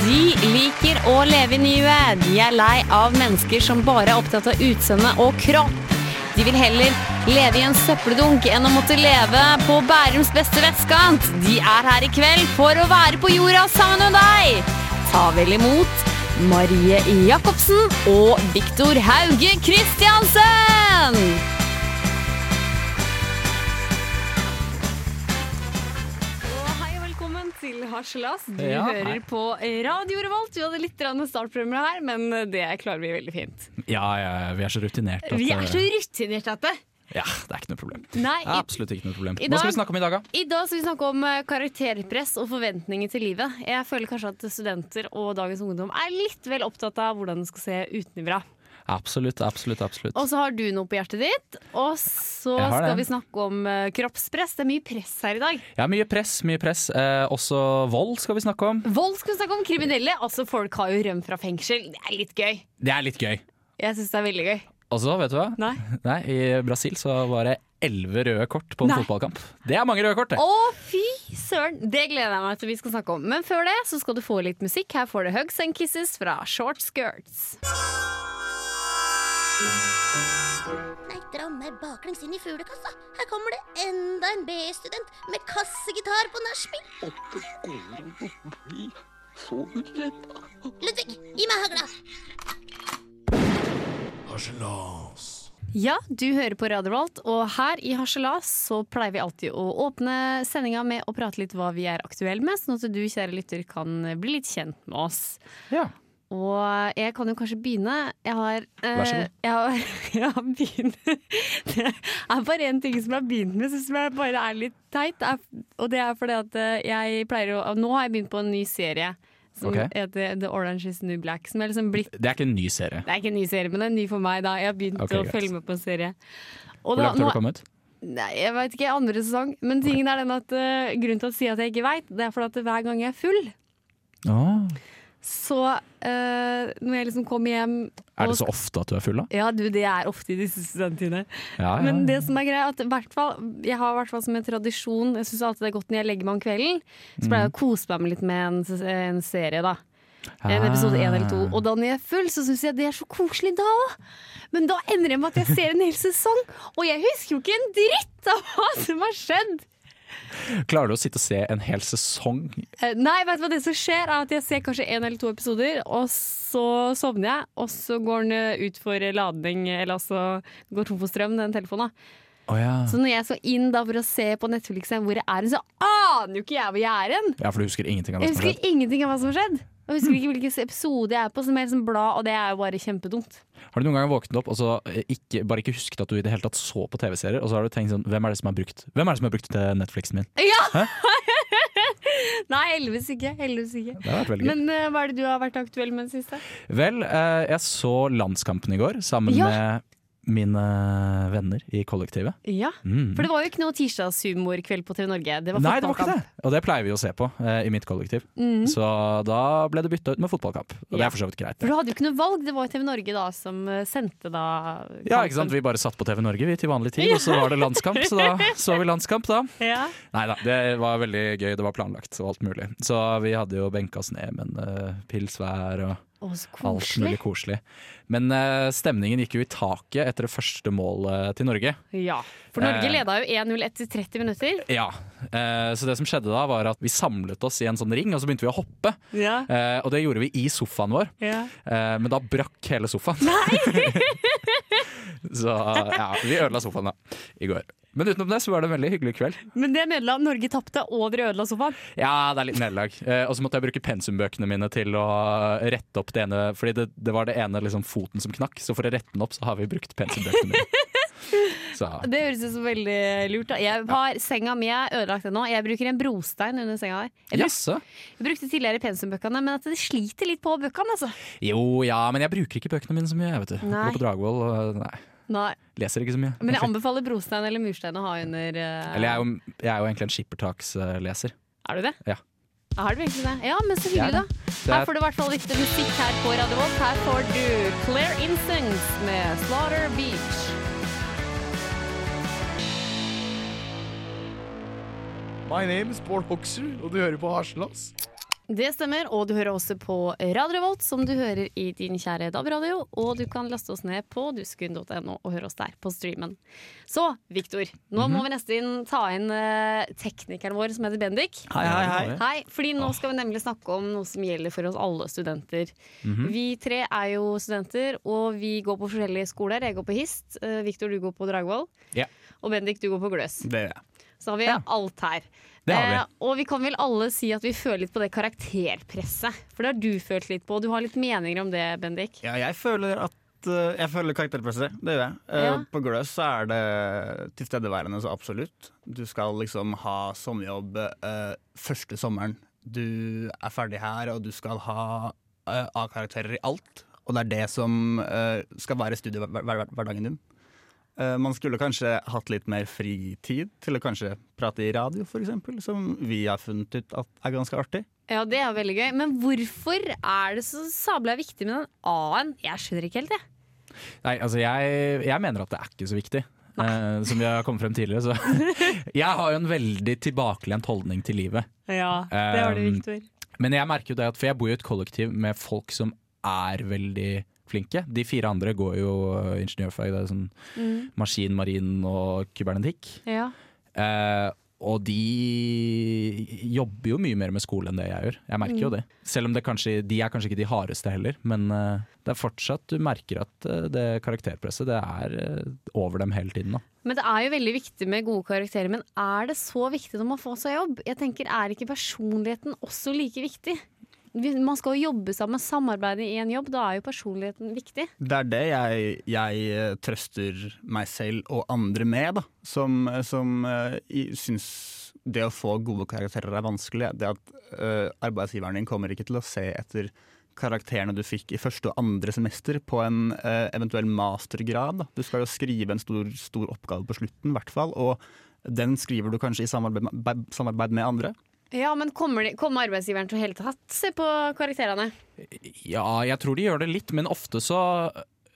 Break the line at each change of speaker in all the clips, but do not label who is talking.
De liker å leve i nuet. De er lei av mennesker som bare er opptatt av utseende og kropp. De vil heller leve i en søppeldunk enn å måtte leve på Bærums beste vestkant. De er her i kveld for å være på jorda sammen med deg. Ta vel imot Marie Jacobsen og Viktor Hauge Kristiansen! Og hei og velkommen til Harselas. Du
Ja, hei.
hører på Radio Revolt. Vi hadde litt grann startproblemer her, men det klarer vi veldig fint.
Ja, ja, ja, vi er så rutinert at
Vi er så
eh,
rutinerte at det.
Ja, det er ikke noe problem.
Nei, i,
Absolutt ikke noe problem.
I
Hva skal
dag-
vi snakke om i dag, da?
i dag skal vi snakke om eh, karakterpress og forventninger til livet. Jeg føler kanskje at studenter og dagens ungdom er litt vel opptatt av hvordan det skal se utenfra.
Absolutt, absolutt, absolutt.
Og så har du noe på hjertet ditt, og så
Jeg har det.
skal vi snakke om eh, kroppspress. Det er mye press her i dag.
Ja, mye press, mye press. Eh, også vold skal vi snakke om.
Vold skal vi snakke om. Kriminelle. Altså, folk har jo rømt fra fengsel. Det er litt gøy.
Det er litt gøy.
Jeg syns det er veldig gøy.
Og så, vet du hva?
Nei.
Nei, i Brasil så var det elleve røde kort på en
Nei.
fotballkamp. Det er mange røde kort, det.
Å, fy søren! Det gleder jeg meg til vi skal snakke om. Men før det så skal du få litt musikk. Her får du Hugs and Kisses fra Short Skirts.
Nei, dra meg baklengs inn i fuglekassa. Her kommer det enda en B-student med kassegitar på nachspiel.
Hvorfor går han å bli så uredd?
Ludvig, gi meg hagla.
Ja, du hører på Radio Volt, og her i Harselas så pleier vi alltid å åpne sendinga med å prate litt hva vi er aktuelle med, sånn at du, kjære lytter, kan bli litt kjent med oss.
Ja.
Og jeg kan jo kanskje begynne. Jeg har eh,
Vær så god.
Jeg har, jeg har begynt Det er bare én ting som jeg har begynt med, som jeg bare er litt teit. Det er- Og det er fordi at eh, jeg pleier å Nå har jeg begynt på en ny serie som
Ok.
heter The Orange Is the New Black. Som er liksom blitt
Det er ikke en ny serie.
Det er ikke en ny serie, men det er ny for meg, da. Jeg har begynt
Ok,
å
greit.
følge med på en serie. Og
Hvor
da-
langt har
nå-
du kommet?
Nei, jeg veit ikke. Andre sesong. Men tingen er den at eh, grunnen til å si at jeg ikke veit, det er fordi at hver gang jeg er full,
Åh.
så eh, når jeg liksom kommer hjem
Er
og
det så ofte at du er full, da?
ja, du, det er ofte i disse studentene.
Ja, ja.
Men det som er greia, er at i hvert fall, jeg har i hvert fall som en tradisjon Jeg syns alltid det er godt når jeg legger meg om kvelden, så
Mhm.
pleier jeg å kose meg med litt med en, s- en serie, da. En episode én eller
Ah.
to. Og da når jeg er full, så syns jeg det er så koselig da òg. Men da ender det med at jeg ser en hel sesong, og jeg husker jo ikke en dritt av hva som har skjedd.
Klarer du å sitte og se en hel sesong?
Eh, Nei, vet du hva det som skjer er at jeg ser kanskje en eller to episoder, og så sovner jeg, og så går den eh, ut for ladning, eller altså går tom for strøm, den telefonen. da.
Å ja.
Så når jeg skal inn da for å se på Netflix hvor jeg er hen, så aner jo ikke jeg hvor jeg er hen!
ja, for du husker ingenting av det
Jeg
som har skjedd?
husker ingenting av hva som har skjedd. Jeg husker ikke hvilken episode jeg er på, som er liksom blad, og det er jo bare kjempedumt.
Har du noen gang våknet opp og så eh, ikke, bare ikke husket at du i det hele tatt så på TV-serier, og så har du tenkt sånn Hvem er det som har brukt Hvem er det som har brukt eh, Netflixen min?
Ja! Nei, heldigvis ikke. Heldigvis ikke.
Det har vært veldig gøy.
Men eh, hva er det du har vært aktuell med i det siste?
Vel, eh, jeg så Landskampen i går sammen
Ja.
med mine eh, venner i kollektivet.
Ja.
Mm.
For det var jo ikke noe tirsdagshumorkveld på TV Norge. Det var
Nei, det var ikke
fotballkamp.
det! Og det pleier vi å se på eh, i mitt kollektiv.
Mm.
Så da ble det bytta ut med fotballkamp. Og det
Ja.
er for så vidt greit.
For du hadde jo ikke noe valg, det var jo TV Norge da som eh, sendte da kampen.
Ja, ikke sant? Vi bare satt på TV Norge vi til vanlig tid, og så var det landskamp. Så da så vi landskamp, da.
Ja.
Nei da, det var veldig gøy. Det var planlagt og alt mulig. Så vi hadde jo benka oss ned med en eh, pils hver og
Å, så
alt mulig
koselig.
koselig. Men eh, stemningen gikk jo i taket etter det første målet eh, til Norge.
Ja. For Norge
Eh.
leda jo 1-0 etter 30 minutter.
Ja, eh, Så det som skjedde da, var at vi samlet oss i en sånn ring, og så begynte vi å hoppe.
Ja.
Eh, og det gjorde vi i sofaen vår, eh, men da brakk hele sofaen. så ja, vi ødela sofaen da, i går. Men utenom det så var det en veldig hyggelig kveld.
Men det nederlag Norge tapte, og dere ødela sofaen.
Ja, det er litt nederlag. Eh, og så måtte jeg bruke pensumbøkene mine til å rette opp det ene Fordi det, det var det ene liksom, foten som knakk, så for å rette den opp, så har vi brukt pensumbøkene mine. Så
Det høres ut som veldig lurt. Da. Jeg har Senga mi er ødelagt ennå. Jeg bruker en brostein under senga der. Jeg, bruk,
Jaså?
jeg brukte tidligere pensumbøkene, men at det sliter litt på bøkene, altså.
Jo ja, men jeg bruker ikke bøkene mine så mye, jeg, vet du.
Nei.
Går på Dragvoll og nei,
Nei.
leser ikke så mye.
Men jeg anbefaler brostein eller murstein å ha under eh,
Eller jeg er, jo, jeg er jo egentlig en skippertaksleser.
Er du det?
Ja.
Er du egentlig det? Ja, men så
Jeg
hyggelig,
er
da.
Så
Her
jeg,
får du i hvert fall litt musikk her på Radio Volt. Her får du Claire Incense med Slaughter Beach.
My name is Bård Hoksrud, og du hører på Harselas.
Det stemmer, og du hører også på Radio Revolt, som du hører i din kjære DAB-radio. Og du kan laste oss ned på duskun.no og høre oss der på streamen. Så, Viktor, nå
Mhm.
må vi nesten ta inn eh, teknikeren vår som heter Bendik.
Hei, hei, hei.
Hei, fordi nå skal vi nemlig snakke om noe som gjelder for oss alle studenter.
Mhm.
Vi tre er jo studenter, og vi går på forskjellige skoler. Jeg går på Hist, eh, Viktor du går på Dragvoll,
Ja.
og Bendik du går på Gløs.
Det gjør jeg.
Så har vi alt her.
Det har vi.
Eh, og vi kan vel alle si at vi føler litt på det karakterpresset. For det har du følt litt på, og du har litt meninger om det, Bendik.
Ja, jeg føler at eh, jeg føler karakterpresset. Det gjør jeg. Eh,
Ja.
På Gløs så er det tilstedeværende så absolutt. Du skal liksom ha sommerjobb eh, første sommeren. Du er ferdig her, og du skal ha eh, A-karakterer i alt. Og det er det som eh, skal være studiehverdagen din. Eh, man skulle kanskje hatt litt mer fritid til å kanskje prate i radio, f.eks., som vi har funnet ut at er ganske artig.
Ja, det er veldig gøy. Men hvorfor er det så sabla viktig med den A-en? Jeg skjønner ikke helt, jeg.
Nei, altså jeg, jeg mener at det er ikke så viktig. Eh, som vi har kommet frem tidligere, så Jeg har jo en veldig tilbakelent holdning til livet.
Ja,
det har du, Um,
Viktor.
Men jeg merker jo det at For jeg bor jo i et kollektiv med folk som er veldig flinke. De fire andre går jo eh, ingeniørfag. Det er sånn maskin, marin og kybernetikk.
Ja.
Eh, og de jobber jo mye mer med skole enn det jeg gjør. Jeg merker jo det. Selv om det kanskje, de er kanskje ikke de hardeste heller, men eh, det er fortsatt du merker at eh, det karakterpresset det er eh, over dem hele tiden. Da.
Men det er jo veldig viktig med gode karakterer. Men er det så viktig når man får seg jobb? Jeg tenker, Er ikke personligheten også like viktig? Man skal jo jobbe sammen, samarbeide i en jobb. Da er jo personligheten viktig.
Det er det jeg, jeg eh, trøster meg selv og andre med, da. Som, som eh, i- syns det å få gode karakterer er vanskelig. Det at eh, arbeidsgiveren din kommer ikke til å se etter karakterene du fikk i første og andre semester på en eh, eventuell mastergrad. Da. Du skal jo skrive en stor, stor oppgave på slutten, i hvert fall. Og den skriver du kanskje i samarbeid med, samarbeid med andre.
Ja, men kommer, de, kommer arbeidsgiveren til å hele tatt se på karakterene?
Ja, jeg tror de gjør det litt, men ofte så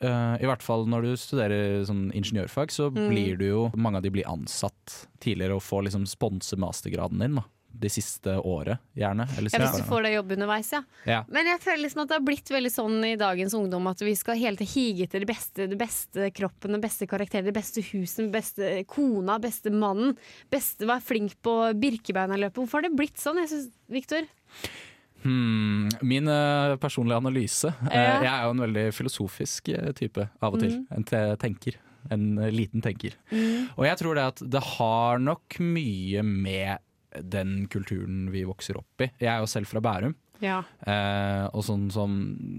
eh, I hvert fall når du studerer sånn ingeniørfag, så
Mm.
blir du jo Mange av de blir ansatt tidligere og får liksom sponse mastergraden din da, det siste året, gjerne. Eller
Ja, hvis
siste
du får deg jobb underveis, ja.
Ja.
Men jeg føler liksom at det har blitt veldig sånn i dagens ungdom at vi skal hele tiden hige etter det beste, det beste kroppen, den beste karakteren, det beste huset, den beste kona, beste mannen. Beste være flink på Birkebeinerløpet. Hvorfor har det blitt sånn? Jeg synes, Victor?
Hmm, min eh, personlige analyse. Eh,
Ja. Mm.
jeg er jo en veldig filosofisk eh, type av og til. En te tenker. En eh, liten tenker. Og jeg tror det at det har nok mye med den kulturen vi vokser opp i. Jeg er jo selv fra Bærum.
Ja.
Eh, og sånn som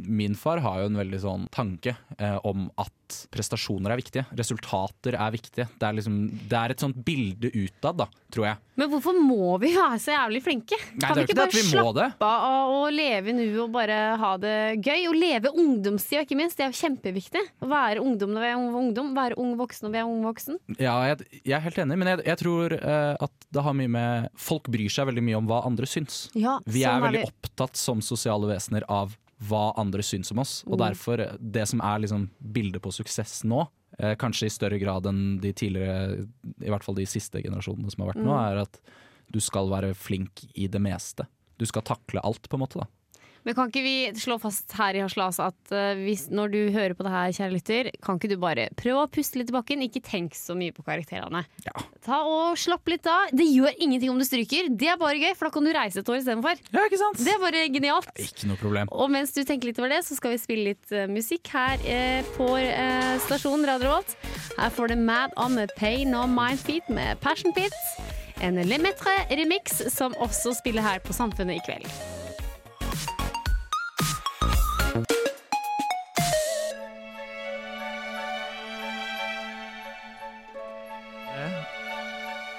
Min far har jo en veldig sånn tanke eh, om at prestasjoner er viktige. Resultater er viktige. Det er, liksom, det er et sånt bilde utad, da, tror jeg.
Men hvorfor må vi være så jævlig flinke?
Nei,
kan
det er
vi
jo
ikke
ikke det at
bare
vi må
slappe
det.
av og, og leve nå og bare ha det gøy? Og leve ungdomstida, ikke minst. Det er jo kjempeviktig. Å være ungdom når vi er ung ungdom. Være ung voksen når vi er ung voksen.
Ja, jeg, jeg er helt enig, men jeg, jeg tror eh, at det har mye med Folk bryr seg veldig mye om hva andre syns.
Ja,
Vi
sånn
er veldig
vi.
opptatt som sosiale vesener av hva andre syns om oss. Og derfor, eh, det som er liksom bildet på suksess nå, eh, kanskje i større grad enn de tidligere, i hvert fall de siste generasjonene som har vært nå, er at du skal være flink i det meste. Du skal takle alt, på en måte. da.
Men kan ikke vi slå fast her i Haslas at eh, hvis, når du hører på det her, kjære lytter, kan ikke du bare prøve å puste litt i bakken? Ikke tenk så mye på karakterene.
Ja.
Ta og Slapp litt av. Det gjør ingenting om du stryker. Det er bare gøy, for da kan du reise et år istedenfor.
ikke sant?
Det er bare genialt.
Ikke noe problem.
Og mens du tenker litt over det, så skal vi spille litt eh, musikk her eh, på eh, stasjonen Radio Revolt. Her får du Mad On med Pain No Mind Feet med Passion Pit. En Lemaitre remix som også spiller her på Samfunnet i kveld.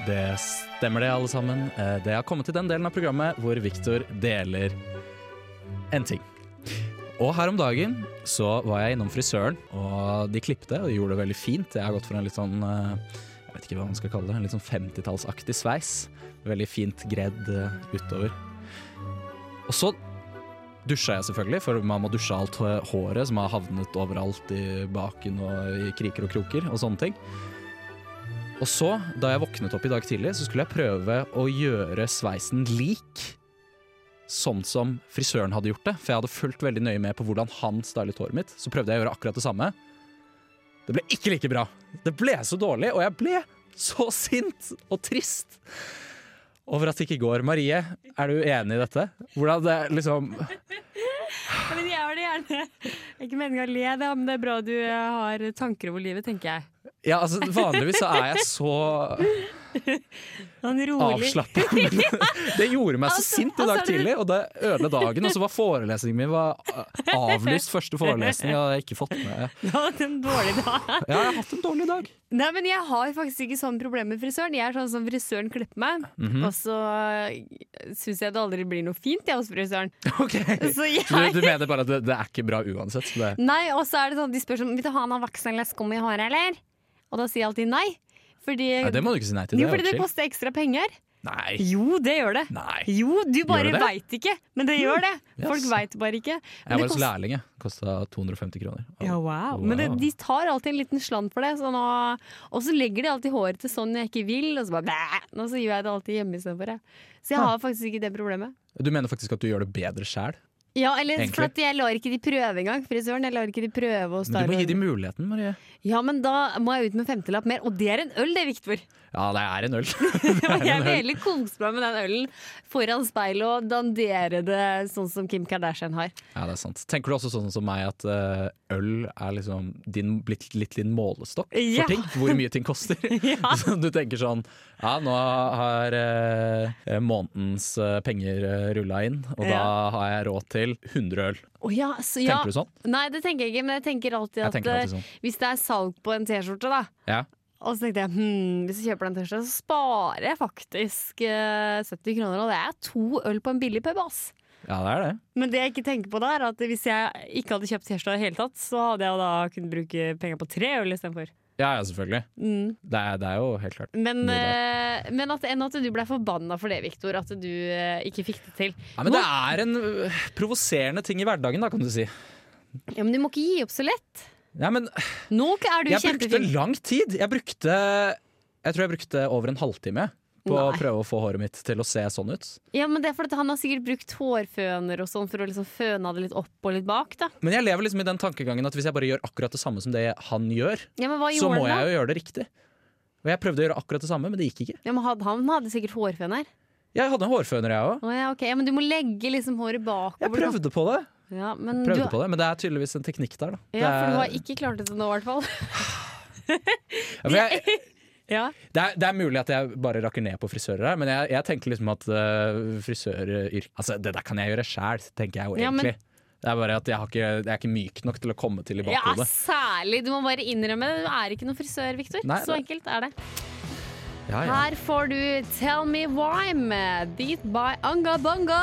Det stemmer det, alle sammen. Eh, Det har kommet til den delen av programmet hvor Victor deler en ting. Og her om dagen så var jeg innom frisøren, og de klippte og de gjorde det veldig fint. Jeg har gått for en litt sånn eh, jeg vet ikke hva man skal kalle det, en litt sånn 50-tallsaktig sveis. Veldig fint gredd eh, utover. Og så dusja jeg selvfølgelig, for man må dusje alt eh, håret som har havnet overalt i baken og i kriker og kroker og sånne ting. Og så, da jeg våknet opp i dag tidlig, så skulle jeg prøve å gjøre sveisen lik sånn som frisøren hadde gjort det. For jeg hadde fulgt veldig nøye med på hvordan han stylet håret mitt. Så prøvde jeg å gjøre akkurat det samme. Det ble ikke like bra. Det ble så dårlig, og jeg ble så sint og trist over at det ikke går. Marie, er du enig i dette? Hvordan det liksom
Men jeg var det gjerne. Det er ikke meningen å le, det, men det er bra du eh, har tanker over livet, tenker jeg.
Ja, altså, vanligvis så er jeg så
Sånn rolig.
avslappa. men Det gjorde meg så
Altså,
sint i dag
altså,
tidlig, og det ødela dagen. Og så var forelesningen min var eh, avlyst. Første forelesning jeg hadde ikke fått med.
Du har hatt en dårlig dag.
Ja, jeg har hatt en dårlig dag.
Nei, men jeg har faktisk ikke sånn problem med frisøren. Jeg er sånn som frisøren klipper meg, og så eh, syns jeg det aldri blir noe fint jeg hos frisøren.
Ok.
Så jeg...
Du, du mener bare at det, det er ikke bra uansett? så Det.
Nei, og så er det sånn, de spør sånn, vil du ha noe vaks eller skum i håret, eller? Og da sier jeg alltid nei. Fordi,
Nei, det må du ikke si nei til.
jo,
Det er
fordi
jo
det
chill.
koster ekstra penger.
Nei.
Jo, det gjør det.
Nei.
Jo, du bare
det det?
veit ikke, men det gjør det.
Yes.
Folk veit bare ikke.
Jeg
Men
var
det
hos
kost-
lærling, jeg. Kosta 250 kroner.
Ja, wow. Men det,
Wow.
de tar alltid en liten slant for det. Så nå, og så legger de alltid håret til sånn jeg ikke vil, og så bare bæ! Og så gjør jeg det alltid hjemme istedenfor. jeg. Så
Ah.
jeg har faktisk ikke det problemet.
Du mener faktisk at du gjør det bedre sjæl?
Ja, eller
Egentlig.
for at jeg lar ikke de prøve engang, frisøren. Jeg lar ikke de prøve å
Men du må
style.
gi dem muligheten, Marie.
Ja, men da må jeg ut med femtelapp mer, og det er en øl det, Viktor!
Ja, det er en øl.
Jeg vil heller kose meg med den ølen foran speilet og dandere det sånn som Kim Kardashian har.
Ja, det er sant. Tenker du også sånn som meg at eh, øl er liksom din, blitt litt din målestokk
Ja.
for ting? Hvor mye ting koster? Så du tenker sånn Ja, nå har eh, månedens eh, penger uh, rulla inn, og da
Ja.
har jeg råd til 100 øl.
Å ja, så ja.
Tenker du sånn?
Nei, det tenker jeg ikke, men jeg tenker alltid
Jeg
at
tenker alltid
eh,
sånn.
hvis det er salg på en T-skjorte, da,
Ja.
Og så tenkte jeg hmm, hvis jeg kjøper den T-skjorta, så sparer jeg faktisk eh, 70 kroner. Og det er to øl på en billig pub, ass.
ja, det er det.
Men det jeg ikke tenker på da, er at hvis jeg ikke hadde kjøpt T-skjorta i det hele tatt, så hadde jeg da kunnet bruke penger på tre øl istedenfor.
Ja, ja, selvfølgelig.
Mm.
Det er, det er jo helt klart.
Men,
Mye
eh, men at, enn at du ble forbanna for det, Viktor. At du eh, ikke fikk det til.
Ja, men det er en øh, provoserende ting i hverdagen, da, kan du si.
Ja, Men du må ikke gi opp så lett.
Ja, men
Nå er du
jeg brukte
kjempefin.
lang tid. Jeg brukte Jeg tror jeg brukte over en halvtime på å
Nei.
prøve å få håret mitt til å se sånn ut.
Ja, men det er fordi at Han har sikkert brukt hårføner og sånn for å liksom føna det litt opp og litt bak. da
Men jeg lever liksom i den tankegangen at hvis jeg bare gjør akkurat det samme som det han gjør,
Ja, men hva
så
gjorde
må
han da?
jeg jo gjøre det riktig. Og jeg prøvde å gjøre akkurat det samme, men det gikk ikke.
Ja, men hadde, han hadde sikkert hårføner.
Jeg hadde en hårføner, jeg òg.
Å ja, ok. ja, men du må legge liksom håret bakover.
Jeg prøvde på det,
da. Ja, men
prøvde
du,
på det, men det er tydeligvis en teknikk der, da.
Ja, for du
det,
har ikke klart det til nå, i hvert fall.
er, ja, for jeg,
Ja.
Det er, det er mulig at jeg bare rakker ned på frisører her, men jeg, jeg tenker liksom at øh, frisøryrk Altså, det der kan jeg gjøre sjæl, tenker jeg jo
Ja, men-
egentlig. Det er bare at jeg, har ikke, jeg er ikke myk nok til å komme til i
ja,
bakhodet.
særlig. Du må bare innrømme det. Du er ikke noen frisør, Victor.
Nei,
Så
det-
enkelt er det.
Ja, ja.
Her får du Tell Me Why med Beat by Anga Bunga.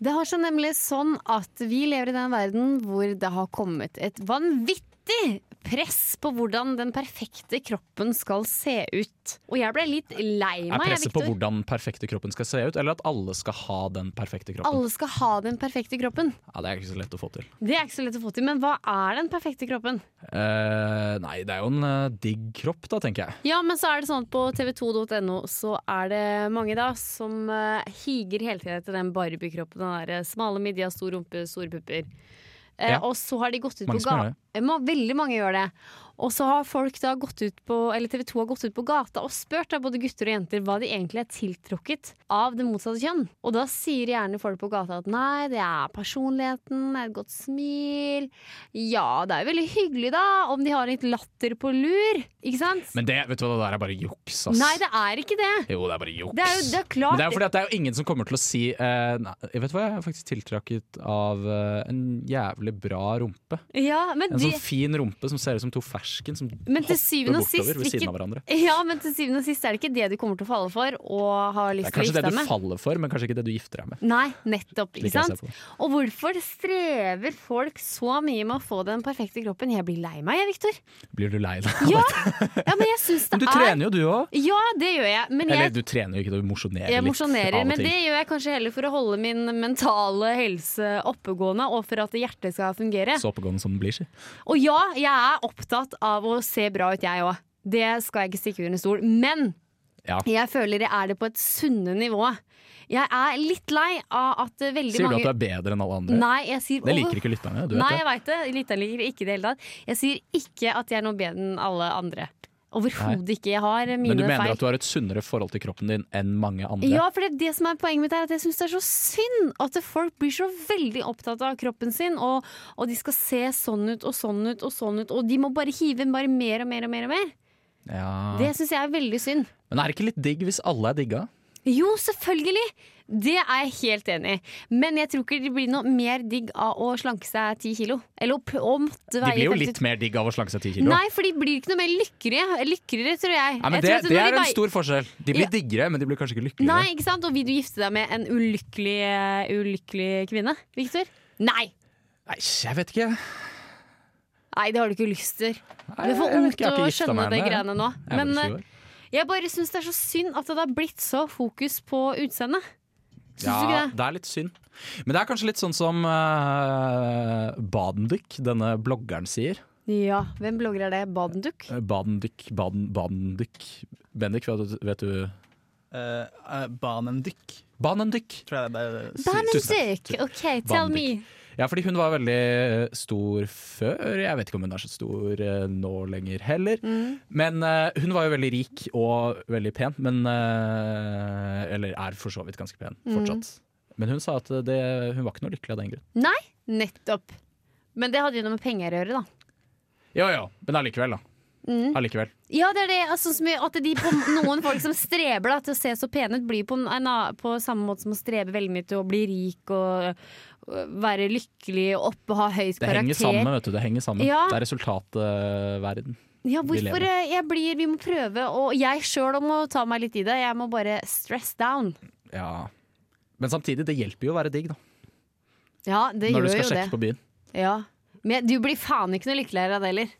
Det har seg nemlig sånn at vi lever i den verden hvor det har kommet et vanvittig press på hvordan den perfekte kroppen skal se ut. Og jeg ble litt lei
Er
meg, jeg,
presset på
Victor.
hvordan den perfekte kroppen skal se ut, eller at alle skal ha den perfekte kroppen?
Alle skal ha den perfekte kroppen.
Ja, det er ikke så lett å få til.
Det er ikke så lett å få til, men hva er den perfekte kroppen?
Eh, nei, det er jo en eh, digg kropp, da, tenker jeg.
Ja, men så er det sånn at på tv2.no så er det mange da som eh, higer hele tiden etter den Barbie-kroppen. Den der eh, smale midja, stor rumpe, store pupper. Eh,
Ja.
Og så har de gått ut
Mange
på
som gjør
gata. Veldig mange gjør det. Og så har folk da gått ut på, eller TV 2 har gått ut på gata og spurt da både gutter og jenter hva de egentlig er tiltrukket av det motsatte kjønn. Og da sier gjerne folk på gata at nei, det er personligheten, det er et godt smil. Ja, det er jo veldig hyggelig da, om de har litt latter på lur. Ikke sant?
Men det vet du hva, det der er bare juks, ass.
Nei, det er ikke det.
Jo, det er bare juks.
Det er jo det er klart.
Men det er jo fordi at det er jo ingen som kommer til å si eh, nei, Jeg vet hva, jeg er faktisk tiltrakket av eh, en jævlig bra rumpe.
ja, men,
En
de,
sånn fin rumpe som ser ut som to fersken som
men til
hopper
syvende og sist
bortover ved
hvilket-
siden av hverandre.
ja, men til syvende og sist er det ikke det du kommer til å falle for og ha
Det
lyst til
er
å
kanskje det
gifte deg
du
med.
faller for, men kanskje ikke det du gifter deg med.
Nei, nettopp.
Liker
ikke
jeg å se
sant?
på det.
Og hvorfor strever folk så mye med å få den perfekte kroppen? Jeg blir lei meg, jeg, Victor.
Blir du lei deg?
Ja, ja, men jeg syns det
Men du
er
trener jo, du òg.
Ja, det gjør jeg. Men
Eller
jeg,
du trener jo ikke, du mosjonerer
jeg
litt. av
mosjonerer.
og
Men
til.
det gjør jeg kanskje heller for å holde min mentale helse oppegående, og for at hjertet skal fungere.
Så oppegående som den blir, si.
Og ja, jeg er opptatt av å se bra ut, jeg òg. Det skal jeg ikke stikke under stol. Men
Ja.
jeg føler jeg er det på et sunne nivå. Jeg er litt lei av at eh, veldig
Sier du
mange
at du er bedre enn alle andre?
Nei, jeg sier
Det liker ikke lytterne. Du
Nei,
vet
jeg veit det. Lytteren liker det ikke i det hele tatt. Jeg sier ikke at jeg er noe bedre enn alle andre. Overhodet ikke. Jeg har
det.
mine
Men du mener
feil.
at du har et sunnere forhold til kroppen din enn mange andre?
Ja, for det, er det som er poenget mitt er at jeg syns det er så synd at folk blir så veldig opptatt av kroppen sin, og, og de skal se sånn ut og sånn ut og sånn ut, og de må bare hive inn bare mer og mer og mer. og mer.
Ja.
Det syns jeg er veldig synd.
Men er det ikke litt digg hvis alle er digga?
Jo, selvfølgelig! Det er jeg helt enig i. Men jeg tror ikke det blir noe mer digg av å slanke seg ti kilo. Eller å, p- å måtte
De
veie
blir jo
50
litt mer digg av å slanke seg ti kilo.
Nei, for de blir ikke noe mer lykkelige, lykkeligere, tror jeg.
Nei, men
jeg
det,
tror at
det
når
er
de
en
vei-
stor forskjell. De blir
Ja.
diggere, men de blir kanskje ikke lykkeligere.
Nei, ikke sant? Og vil du gifte deg med en ulykkelig, eh, ulykkelig kvinne, Victor? Nei!
Nei, jeg vet ikke.
Nei, det har du ikke lyst til.
Nei,
Det er for
jeg vet
ungt
ikke, jeg har
å
ikke gifta
skjønne
meg
de
ennå, jeg.
greiene nå.
Jeg er
Men
bare
eh,
20 år.
jeg bare syns det er så synd at det har blitt så fokus på utseendet. Syns
ja,
du ikke det?
det er litt synd. Men det er kanskje litt sånn som eh, Badendyk, denne bloggeren, sier.
Ja. Hvem blogger er det? Badenduk?
Eh, Badendyk, Baden, Badendyk Bendik, vet, du- vet du
Eh,
Banendykk,
Banendyk!
tror jeg det er.
Badenduk! OK, tell me.
Ja, fordi hun var veldig eh, stor før. Jeg vet ikke om hun er så stor eh, nå lenger heller.
Mm.
Men eh, hun var jo veldig rik og veldig pen. Men eh, Eller er for så vidt ganske pen
Mm.
fortsatt. Men hun sa at eh, det, hun var ikke noe lykkelig av den grunn.
Nettopp. Men det hadde jo noe med penger å gjøre, da.
Jo jo, men allikevel, da.
Mm.
Allikevel.
Ja, det er det. Altså, som at de på noen folk som streber da, til å se så pene ut, blir på, en anna- på samme måte som å strebe veldig mye til å bli rik og øh, være lykkelig og oppe og ha høyt
Det
karakter.
henger sammen, vet du. Det henger sammen.
Ja.
Det er resultatverden.
Ja,
Vi
hvorfor
lever.
øh, jeg blir Vi må prøve, og jeg sjøl må ta meg litt i det. Jeg må bare stress down.
Ja. Men samtidig, det hjelper jo å være digg, da.
Ja, det
Når du
gjør
skal
jo
sjekke
det.
på byen.
Ja. Men du blir faen ikke noe lykkeligere av det heller.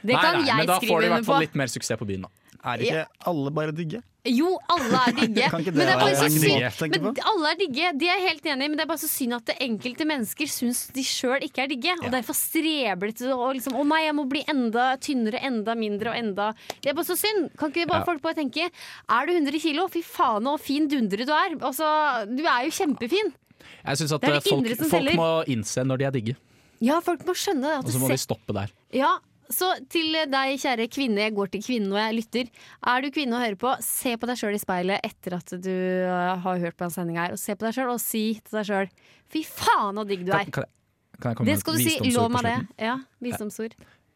Det
nei,
kan
nei, men
jeg
da får du i
skrive
hvert
under
fall
på.
litt mer suksess på byen, da.
Er ikke alle bare digge?
Jo, alle er digge.
Kan ikke det
men det er bare
være
så
en
synd
måte å tenke
Men alle er digge, de er helt enige, men det er bare så synd at det enkelte mennesker syns de sjøl ikke er digge. Og derfor streber de til å liksom Å nei, jeg må bli enda tynnere, enda mindre og enda Det er bare så synd. Kan ikke bare
Ja.
folk bare tenke Er du 100 kilo, fy faen så fin dundre du er. Altså, du er jo kjempefin.
Jeg syns at
Det er
eh,
det
folk,
indre som
folk
teller.
må innse når de er digge,
Ja, folk må skjønne det. At
og
du
så må
ser
de stoppe der.
Ja, så til deg, kjære kvinne, jeg går til kvinnen og jeg lytter. Er du kvinne og hører på, se på deg sjøl i speilet etter at du øh, har hørt på en sending her. Og se på deg sjøl og si til deg sjøl fy faen så digg du
Kan,
er.
kan, jeg- kan jeg komme
Det
med
skal
et
du si.
visdomsord
Lov
på
meg det.
slutten?
Ja, visdomsord.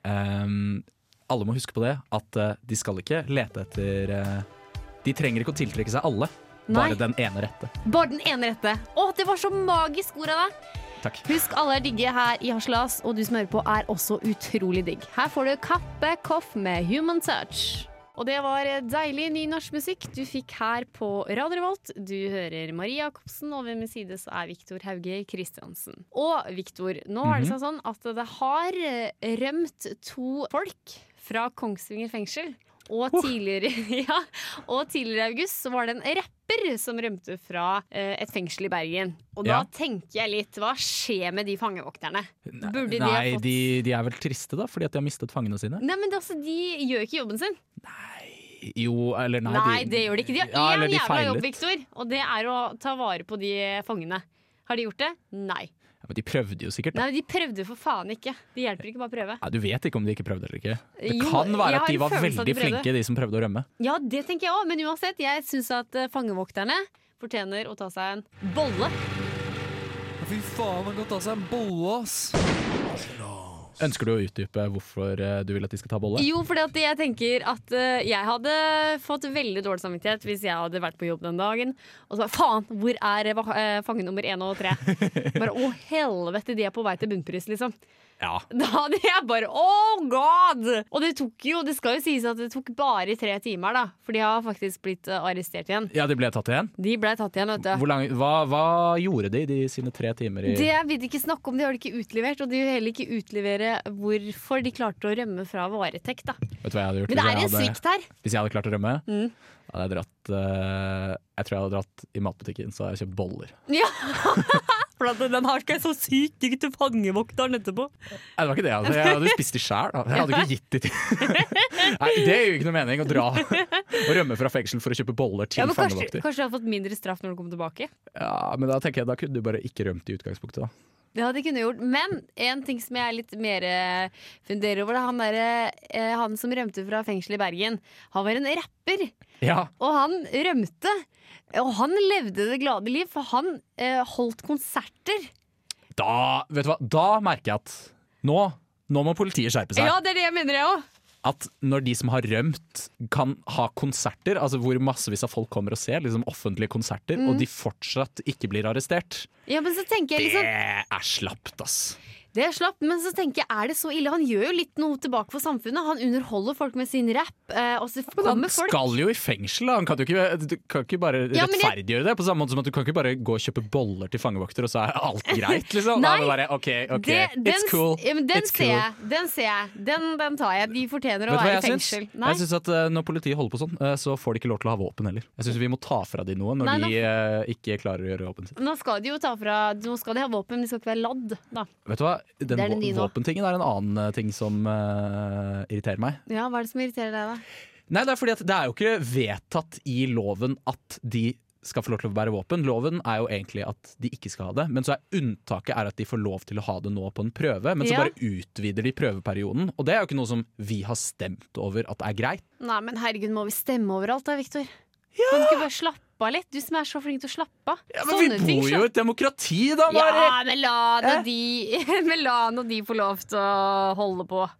Ehm, alle må huske på det, at eh, de skal ikke lete etter eh, De trenger ikke å tiltrekke seg alle,
Nei.
bare den ene rette.
Bare den ene rette. Å, det var så magisk ord av deg!
Takk.
Husk, alle er digge her i Haslas, og du som hører på, er også utrolig digg. Her får du Kappe Koff med Human Touch. Og det var deilig ny norsk musikk du fikk her på Radio Revolt. Du hører Maria Jacobsen, og ved min side så er Viktor Hauge Kristiansen. Og Viktor, nå er det seg sånn at det har eh, rømt to folk fra Kongsvinger fengsel. Og tidligere, ja, og tidligere i august så var det en rapper som rømte fra eh, et fengsel i Bergen. Og da
Ja.
tenker jeg litt, hva skjer med de fangevokterne? Burde de ha
Nei,
fått-
de, de er vel triste, da, fordi at de har mistet fangene sine?
Nei, men det, er altså, De gjør ikke jobben sin.
Jo, eller nei,
Nei, det gjør de ikke. De har
Ja, eller
én
de
jævla
feilet.
jobb, Victor, og det er å ta vare på de fangene. Har de gjort det? Nei.
Ja, men de prøvde jo sikkert, da.
Nei, men De prøvde for faen ikke. Det hjelper ikke bare å prøve.
Ja, du vet ikke om de ikke prøvde eller ikke. Det
Jo,
kan
jeg
være
har
at de
en
var
følelse av at de
veldig
prøvde.
flinke, de som prøvde å rømme.
Ja, det tenker jeg òg, men uansett, jeg syns at eh, fangevokterne fortjener å ta seg en bolle.
Fy faen, han kan ta seg en bolle, ass.
Ønsker du å utdype hvorfor eh, du vil at de skal ta bolle?
Jo, fordi at jeg tenker at eh, jeg hadde fått veldig dårlig samvittighet hvis jeg hadde vært på jobb den dagen. Og så bare faen, hvor er eh, va- eh, fange nummer én og tre? Bare å helvete, de er på vei til bunnpris, liksom.
Ja.
Da hadde jeg bare oh god! Og det tok jo, det skal jo sies at det tok bare tre timer, da. For de har faktisk blitt eh, arrestert igjen.
ja, de ble tatt igjen?
De ble tatt igjen, vet du.
Hvor lang, hva, hva gjorde de de sine tre timer i
Det vil de ikke snakke om, de har det ikke utlevert. Og de vil heller ikke utlevere hvorfor de klarte å rømme fra varetekt. da
Vet du hva jeg hadde gjort
Men det er en
hvis, jeg hadde,
svikt her.
hvis jeg hadde klart å rømme?
Mm.
Da hadde jeg dratt eh, Jeg tror jeg hadde dratt i matbutikken, så hadde jeg kjøpt boller.
Ja. For at den har ikke jeg så sykt digg til fangevokteren etterpå.
Nei, det var ikke det. jeg hadde- Jeg hadde spist de sjæl. da. Jeg hadde ikke gitt de til Nei, Det gir jo ikke noe mening å dra og rømme fra fengsel for å kjøpe boller til
Ja, men kanskje,
fangevokter.
kanskje du hadde fått mindre straff når du kom tilbake.
Ja, men da tenker jeg da kunne du bare ikke rømt i utgangspunktet, da.
Ja, det kunne jeg gjort. Men en ting som jeg er litt mer eh, funderer over, det er han, derre, eh, han som rømte fra fengselet i Bergen. Han var en rapper,
Ja,
og han rømte. Og han levde det glade liv, for han eh, holdt konserter.
da, vet du hva? da merker jeg at nå, nå må politiet skjerpe seg.
Ja, det er det jeg mener, jeg òg.
At når de som har rømt, kan ha konserter, altså hvor massevis av folk kommer og ser, liksom offentlige konserter,
Mm.
og de fortsatt ikke blir arrestert,
Ja, men så tenker jeg
det
liksom
er slapt, ass.
Det er slapp, men så tenker jeg, er det så ille? Han gjør jo litt noe tilbake for samfunnet. Han underholder folk med sin rapp. Eh, og så
Han
kommer folk
skal jo i fengsel, da. Han kan jo ikke, du kan ikke bare
Ja, men jeg-
rettferdiggjøre det. På samme måte som at du kan ikke bare gå og kjøpe boller til fangevokter, og så er alt greit, liksom.
Nei,
Da er det bare, ok, ok,
Det-
it's cool.
Ja, men den
it's
ser
cool.
jeg. Den ser jeg. Den, den tar jeg. De fortjener å
Vet du hva
være i
jeg syns?
fengsel. Nei.
Jeg syns at eh, Når politiet holder på sånn, eh, så får de ikke lov til å ha våpen heller. Jeg syns vi må ta fra de noe når
Nei,
de eh, ikke klarer å gjøre jobben sin.
Nå skal de jo ta fra Nå skal de ha våpen, men de skal ikke være ladd. Da.
Vet du hva? Den
Det er den
vå-
nye nå.
våpentingen er en annen eh, ting som eh, irriterer meg.
Ja, Hva er det som irriterer deg, da?
Nei, det er fordi at det er jo ikke vedtatt i loven at de skal få lov til å bære våpen. Loven er jo egentlig at de ikke skal ha det, men så er unntaket er at de får lov til å ha det nå på en prøve. Men så
Ja.
bare utvider de prøveperioden, og det er jo ikke noe som vi har stemt over at er greit.
Nei, men herregud, må vi stemme overalt da, Viktor? Kan du ikke bare slappe av litt? Du som er så flink til å slappe av.
Ja, men vi bor jo i et demokrati, da, Mari!
Ja, men la nå de Men la nå de få lov til å holde på.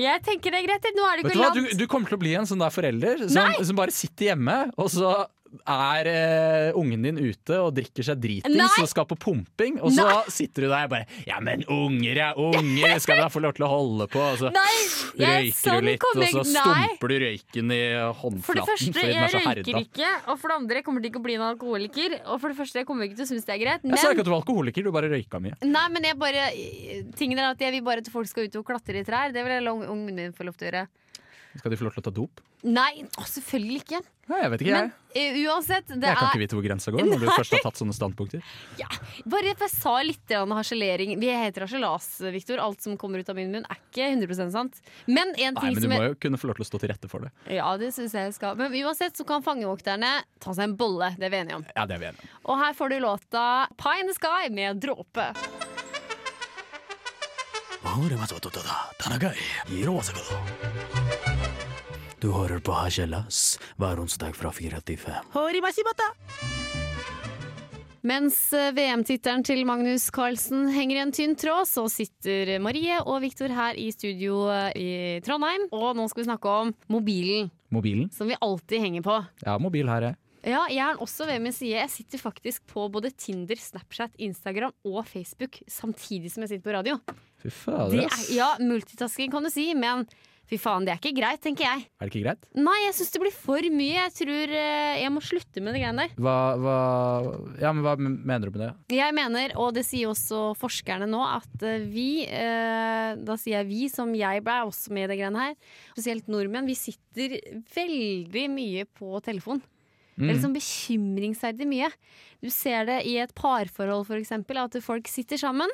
Jeg tenker det er greit. Nå er det
Vet
ikke
du
noe
hva,
land.
du, du kommer til å bli en sånn der forelder som, som bare sitter hjemme, og så er eh, ungen din ute og drikker seg dritings
Nei!
og skal på pumping, og så sitter du der og bare Ja, men unger er unger, skal da få lov til å holde på? Og så
Nei, jeg,
røyker
sånn
du litt, og
kommer
så
jeg Nei.
stumper du røyken i håndflaten
For det første,
fordi den
jeg
er så
røyker
herda.
ikke. Og for det andre, jeg kommer til ikke å bli en alkoholiker. Og for det første, jeg kommer ikke til å synes det er greit.
Jeg sa
Men,
ikke at du var alkoholiker, du bare røyka mye.
nei, men jeg bare Tingen er at jeg vil bare at folk skal ut og klatre i trær. Det vil jeg la ung- ungen min få lov til å gjøre.
Skal de få lov til å ta dop?
Nei, å, selvfølgelig ikke.
Nei, jeg vet ikke,
Men
jeg.
eh, uansett, det
Jeg kan ikke
er
vite hvor grensa går når du først har tatt sånne standpunkter.
Bare for jeg sa litt grann harselering. Vi heter harselas, Viktor. Alt som kommer ut av min munn, er ikke 100 sant. Men en
Nei,
ting
men du
som
må
jeg
jo kunne få lov til å stå til rette for det.
Ja, det synes jeg jeg skal. Men uansett så kan fangevokterne ta seg en bolle. Det er vi enige om.
Ja, det er vi enige om.
Og her får du låta 'Pie in the Sky' med Dråpe.
Du hører på Hasjelas hver onsdag fra 4 til 5.
Mens eh, VM-tittelen til Magnus Carlsen henger i en tynn tråd, så sitter Marie og Viktor her i studio eh, i Trondheim. Og nå skal vi snakke om mobilen,
Mobilen?
som vi alltid henger på.
Ja, mobil her, jeg.
Ja, jeg er også ved min side. Jeg sitter faktisk på både Tinder, Snapchat, Instagram og Facebook samtidig som jeg sitter på radio.
Fy fader,
Det er,
ass.
ja, multitasking kan du si, men fy faen, det er ikke greit, tenker jeg.
Er det ikke greit?
Nei, jeg syns det blir for mye. Jeg tror eh, jeg må slutte med det greiene der.
Hva, hva, ja, men hva mener du med det?
Jeg mener, og det sier også forskerne nå, at eh, vi eh, Da sier jeg vi, som jeg ble også med i det greiene her. Spesielt nordmenn. Vi sitter veldig mye på telefon. Det
Mm.
er liksom bekymringsverdig mye. Du ser det i et parforhold, f.eks. At folk sitter sammen,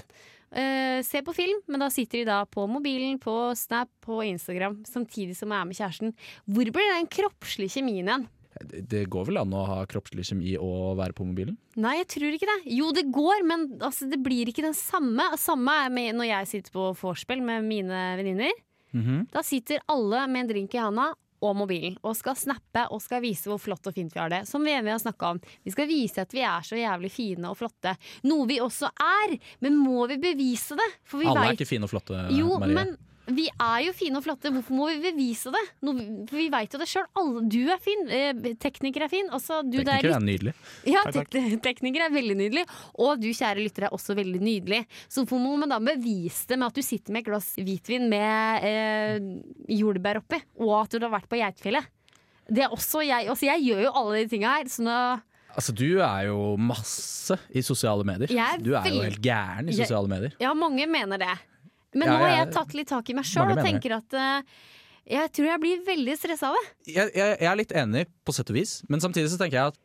eh, ser på film, men da sitter de da på mobilen, på Snap, på Instagram, samtidig som de er med kjæresten. Hvor blir den kroppslige kjemien igjen?
Det går vel an å ha kroppslig kjemi og være på mobilen?
Nei, jeg tror ikke det. Jo, det går, men altså, det blir ikke den samme. Samme er med når jeg sitter på vorspiel med mine venninner.
Mhm.
Da sitter alle med en drink i handa og mobilen og skal snappe og skal vise hvor flott og fint vi har det. Som VM har snakka om. Vi skal vise at vi er så jævlig fine og flotte. Noe vi også er, men må vi bevise det? For vi
Alle er
vet-
ikke fine og flotte,
jo,
Marie.
men vi er jo fine og flotte, hvorfor må vi bevise det? Nå, for vi veit jo det sjøl. Du er fin, eh, tekniker er fin. Altså, du der
Teknikere er nydelig.
ja, tek tekniker er veldig nydelig. Og du, kjære lytter, er også veldig nydelig. Så hvorfor må man da bevise det med at du sitter med et glass hvitvin med eh, jordbær oppi, og at du har vært på Geitfjellet? Det er også jeg. Altså, jeg gjør jo alle de tinga her, så nå
Altså, du er jo masse i sosiale medier.
Jeg er
du er jo
veldig-
helt gæren i
Jeg-
sosiale medier.
Ja, mange mener det. Men
Ja,
nå har
ja,
jeg tatt litt tak i meg sjøl
mange
og
mener
tenker at eh, jeg tror jeg blir veldig stressa av det.
Jeg, jeg, jeg er litt enig, på sett og vis, men samtidig så tenker jeg at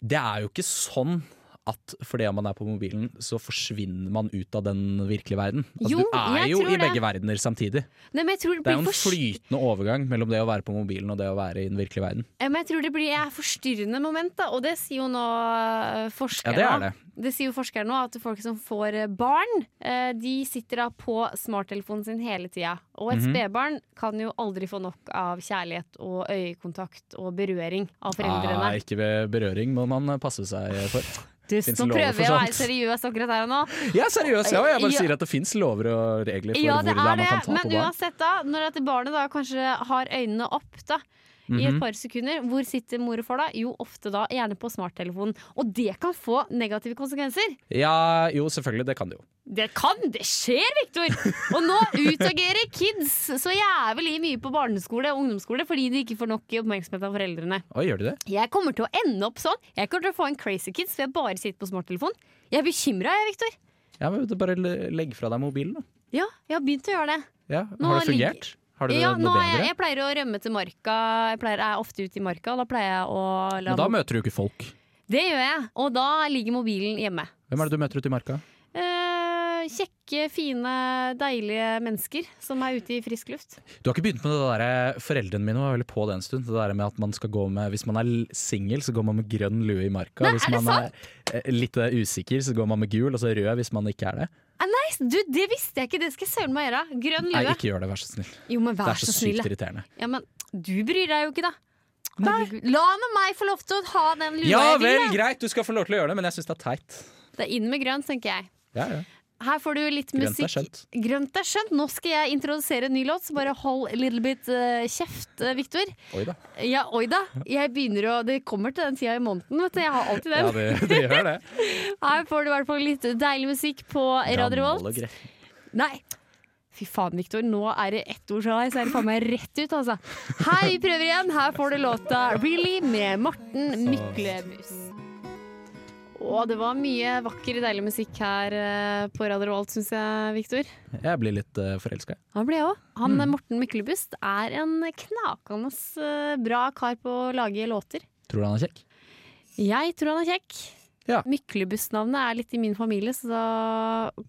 det er jo ikke sånn at fordi man er på mobilen, så forsvinner man ut av den virkelige verden. Altså,
Jo,
du er
jeg
jo
tror
i
det.
begge verdener samtidig.
Nei, men jeg tror det
Det er jo
blir
en
for...
flytende overgang mellom det å være på mobilen og det å være i den virkelige verden.
Ja, men jeg tror det blir et forstyrrende moment, da. og det sier jo nå eh, forskere.
Ja, det er det.
Det sier jo forskere nå at folk som får eh, barn, eh, de sitter da på smarttelefonen sin hele tida. Og et
Mhm.
spedbarn kan jo aldri få nok av kjærlighet og øyekontakt og berøring av foreldrene.
Ah, ikke ved berøring må man eh, passe seg for.
Du,
finnes
nå
lover
prøver
for
jeg å være
sånt.
seriøs akkurat her og nå.
Ja, seriøst! Ja, jeg bare
Ja.
sier at det fins lover og regler for
Ja,
hvor
det
det
er
er man
det,
kan ta på
men
barn.
uansett, da. Når dette barnet da kanskje har øynene opp, da. I
Mhm.
et par sekunder. Hvor sitter mor og far da? Jo, ofte da gjerne på smarttelefonen. Og det kan få negative konsekvenser!
Ja, jo, selvfølgelig. Det kan det jo.
Det kan! Det skjer, Viktor! Og nå utagerer kids så jævlig mye på barneskole og ungdomsskole fordi de ikke får nok oppmerksomhet av foreldrene.
Oi, gjør de det?
Jeg kommer til å ende opp sånn. Jeg kommer til å få en crazy kids for jeg bare sitter på smarttelefon. Jeg er bekymra, jeg, Viktor.
Ja, men du Bare le- legg fra deg mobilen, da.
Ja, jeg har begynt å gjøre det.
Ja.
Nå
Har det
ligger-
fungert? Har du det
ja,
noe
nå er jeg,
bedre?
jeg pleier å rømme til marka. Jeg, pleier, jeg er ofte ute i marka, og da pleier jeg å la
Men da møter du ikke folk.
Det gjør jeg. Og da ligger mobilen hjemme.
Hvem er det du møter ute i marka?
Eh, kjekke, fine, deilige mennesker som er ute i frisk luft.
Du har ikke begynt med det der eh, Foreldrene mine var veldig på det en stund. Det der med at man skal gå med Hvis man er l- singel, så går man med grønn lue i marka.
Nei,
hvis
er det
man er eh, litt eh, usikker, så går man med gul, og så rød hvis man ikke er det.
Ah, nice. Du, det visste jeg ikke! Det skal jeg søren meg gjøre. Grønn
Nei,
lue.
ikke gjør det, vær så snill.
Jo, men
Det
vær
er så
så snill.
sykt irriterende.
Ja, men du bryr deg jo ikke, da. Herregud. La nå meg få lov til å ha den lua
Ja
jeg vil.
vel, greit, du skal få lov til å gjøre det, men jeg syns det er teit.
da. Det er inn med grønt, tenker jeg.
Ja, ja.
Her får du litt
Grønt er
musikk.
skjønt.
Grønt er skjønt. Nå skal jeg introdusere en ny låt, så bare hold a little bit eh, kjeft, uh, Viktor.
Oi da.
Ja, oi da. Jeg begynner å Det kommer til den tida i måneden, vet du. Jeg har alltid
Ja,
den.
det, det gjør det.
Her får du i hvert fall litt deilig musikk på Radio
Gammel
Revolt.
og grei.
Nei. Fy faen, Viktor. Nå er det ett ord fra deg, så er det faen meg rett ut, altså. Hei, vi prøver igjen. Her får du låta 'Really' med Morten Myklebust. Å, det var mye vakker, deilig musikk her eh, på Radio Revolt, syns jeg, Viktor.
Jeg blir litt uh, forelska.
Han ble jeg òg. Han
Mm.
Morten Myklebust er en knakende eh, bra kar på å lage låter.
Tror du han er kjekk?
Jeg tror han er kjekk.
Ja.
Myklebust-navnet er litt i min familie, så da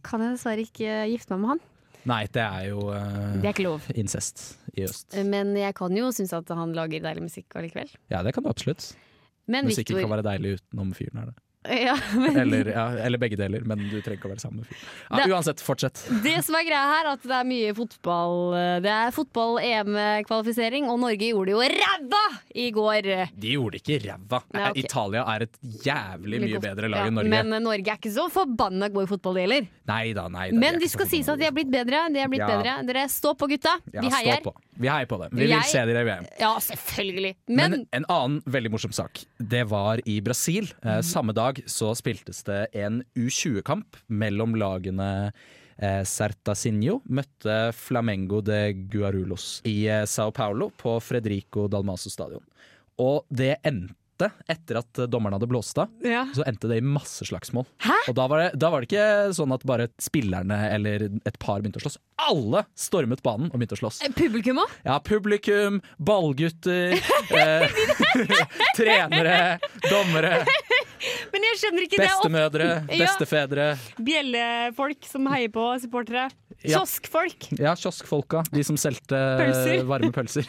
kan jeg dessverre ikke gifte meg med han.
Nei, det er jo eh,
Det er ikke lov.
incest i øst.
Eh, Men jeg kan jo synes at han lager deilig musikk allikevel.
Ja, det kan du absolutt.
Men
Musikken
Victor
kan være deilig utenom fyren her. da.
ja, men
Eller, ja, eller begge deler, men du trenger ikke å være sammen med fyren. Ja,
Det-
uansett, fortsett.
Det som er greia her, er at det er mye fotball. eh, Det er fotball-EM-kvalifisering, og Norge gjorde det jo ræva i går.
De gjorde ikke ræva.
Nei, ok.
Italia er et jævlig
Litt
mye
ofte,
bedre lag
ja.
enn Norge.
Men eh, Norge er ikke så forbanna god i fotball, det heller.
nei da, nei da.
Men de skal sies at de er blitt bedre. De er blitt
Ja.
bedre. Dere, stå på, gutta.
ja,
Vi heier.
Stå på. Vi heier på dem. Vi
Jeg-
vil se dere i VM.
Ja, selvfølgelig.
Men,
Men
en annen veldig morsom sak, det var i Brasil. Eh, samme dag så spiltes det en U20-kamp mellom lagene eh, Certasinho møtte Flamengo de Guarulhos i eh, Sao Paulo på Fredrico Dalmaso stadion. Og det endte, etter at eh, dommeren hadde blåst av,
Ja.
så endte det i masse slagsmål.
Hæ?
Og da var, det, da var det ikke sånn at bare spillerne eller et par begynte å slåss. Alle stormet banen og begynte å slåss.
Eh, Publikum òg?
Ja, publikum, ballgutter, eh, trenere, dommere,
Men jeg skjønner ikke det.
bestemødre,
Ja.
bestefedre.
Og bjellefolk som heier på supportere.
Ja.
Kioskfolk.
Ja, kioskfolka. De som solgte
Pølser.
varme pølser.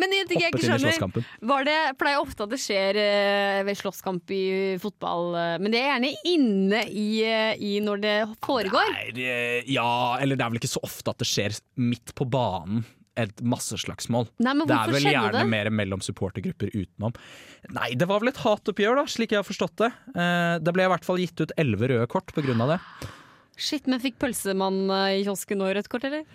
Men en ting jeg ikke
Hoppet inn i
skjønner
slåsskampen.
var det, pleier ofte at det skjer eh, ved slåsskamp i fotball, eh, men det er gjerne inne i, eh, i når det foregår.
Nei, det, ja, eller det er vel ikke så ofte at det skjer midt på banen. Et masseslagsmål.
Nei, men
Det er
hvorfor
vel
skjedde
gjerne
det?
mer mellom supportergrupper utenom. Nei, det var vel et hatoppgjør, da, slik jeg har forstått det. Eh, Det ble i hvert fall gitt ut elleve røde kort på grunn av det.
Shit, men fikk pølsemann eh, i kiosken nå rødt kort, eller?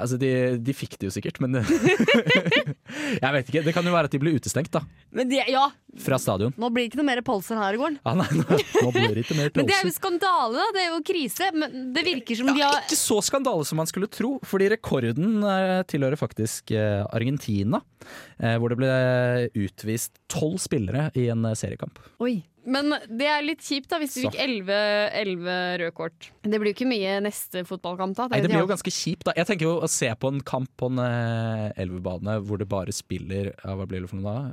Altså, de, de fikk det jo sikkert, men Jeg vet ikke. Det kan jo være at de ble utestengt, da.
Men det, ja,
Fra stadion.
nå blir det ikke noe mer pølser her i gården.
Ah, nei, nå, nå blir det ikke mer
Men det er jo
pølser.
skandale, da. Det er jo krise. Men det virker som de
Ja,
har
ikke så skandale som man skulle tro, fordi rekorden eh, tilhører faktisk eh, Argentina. eh, Hvor det ble utvist tolv spillere i en eh, seriekamp.
Oi. Men det er litt kjipt da hvis du
Så.
fikk elleve elleve røde kort. Det blir jo ikke mye neste fotballkamp, da.
Nei, det
de
blir
har-
jo ganske kjipt, da. Jeg tenker jo å se på en kamp på en eh, elvebane hvor det bare spiller ja, Hva blir det for noe da?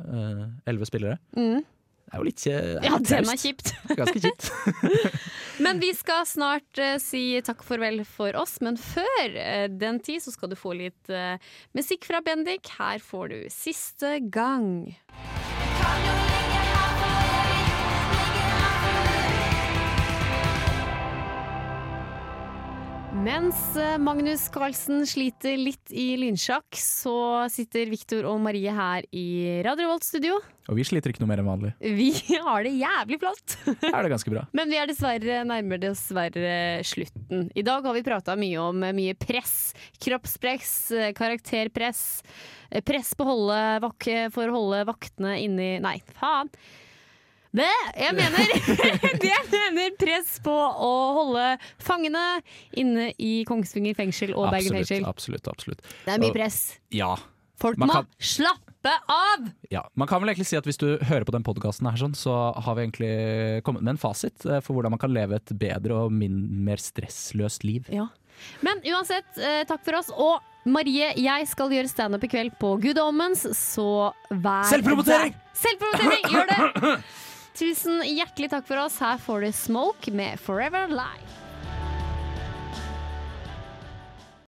Elleve Eh, spillere. Det er jo litt eh,
Mm. Ja, den er
traust.
kjipt.
Ganske kjipt.
Men vi skal snart eh, si takk og farvel for oss. Men før eh, den tid så skal du få litt eh, musikk fra Bendik. Her får du Siste gang. Mens eh, Magnus Carlsen sliter litt i lynsjakk, så sitter Viktor og Marie her i Radio Volt studio.
Og vi sliter ikke noe mer enn vanlig.
Vi har det jævlig flott!
Da er det ganske bra.
Men vi er dessverre nærmer dessverre slutten. I dag har vi prata mye om eh, mye press. Kroppspress, eh, karakterpress. eh, Press på holde vak for å holde vaktene inni Nei, faen. Det jeg mener Det jeg mener press på å holde fangene inne i Kongsvinger fengsel og Bergen
Absolutt,
fengsel.
absolutt, absolutt.
Det er mye press.
Ja.
Folk
Man
må
kan-
slappe av!
ja. Man kan vel egentlig si at hvis du hører på den podkasten her, sånn, så har vi egentlig kommet med en fasit eh, for hvordan man kan leve et bedre og min, mer stressløst liv.
Ja. Men uansett, eh, takk for oss. Og Marie, jeg skal gjøre standup i kveld på Good Omens, så vær
Selvpromotering!
der. Selvpromotering! Gjør det! Tusen hjertelig takk for oss. Her får du Smoke med Forever Live.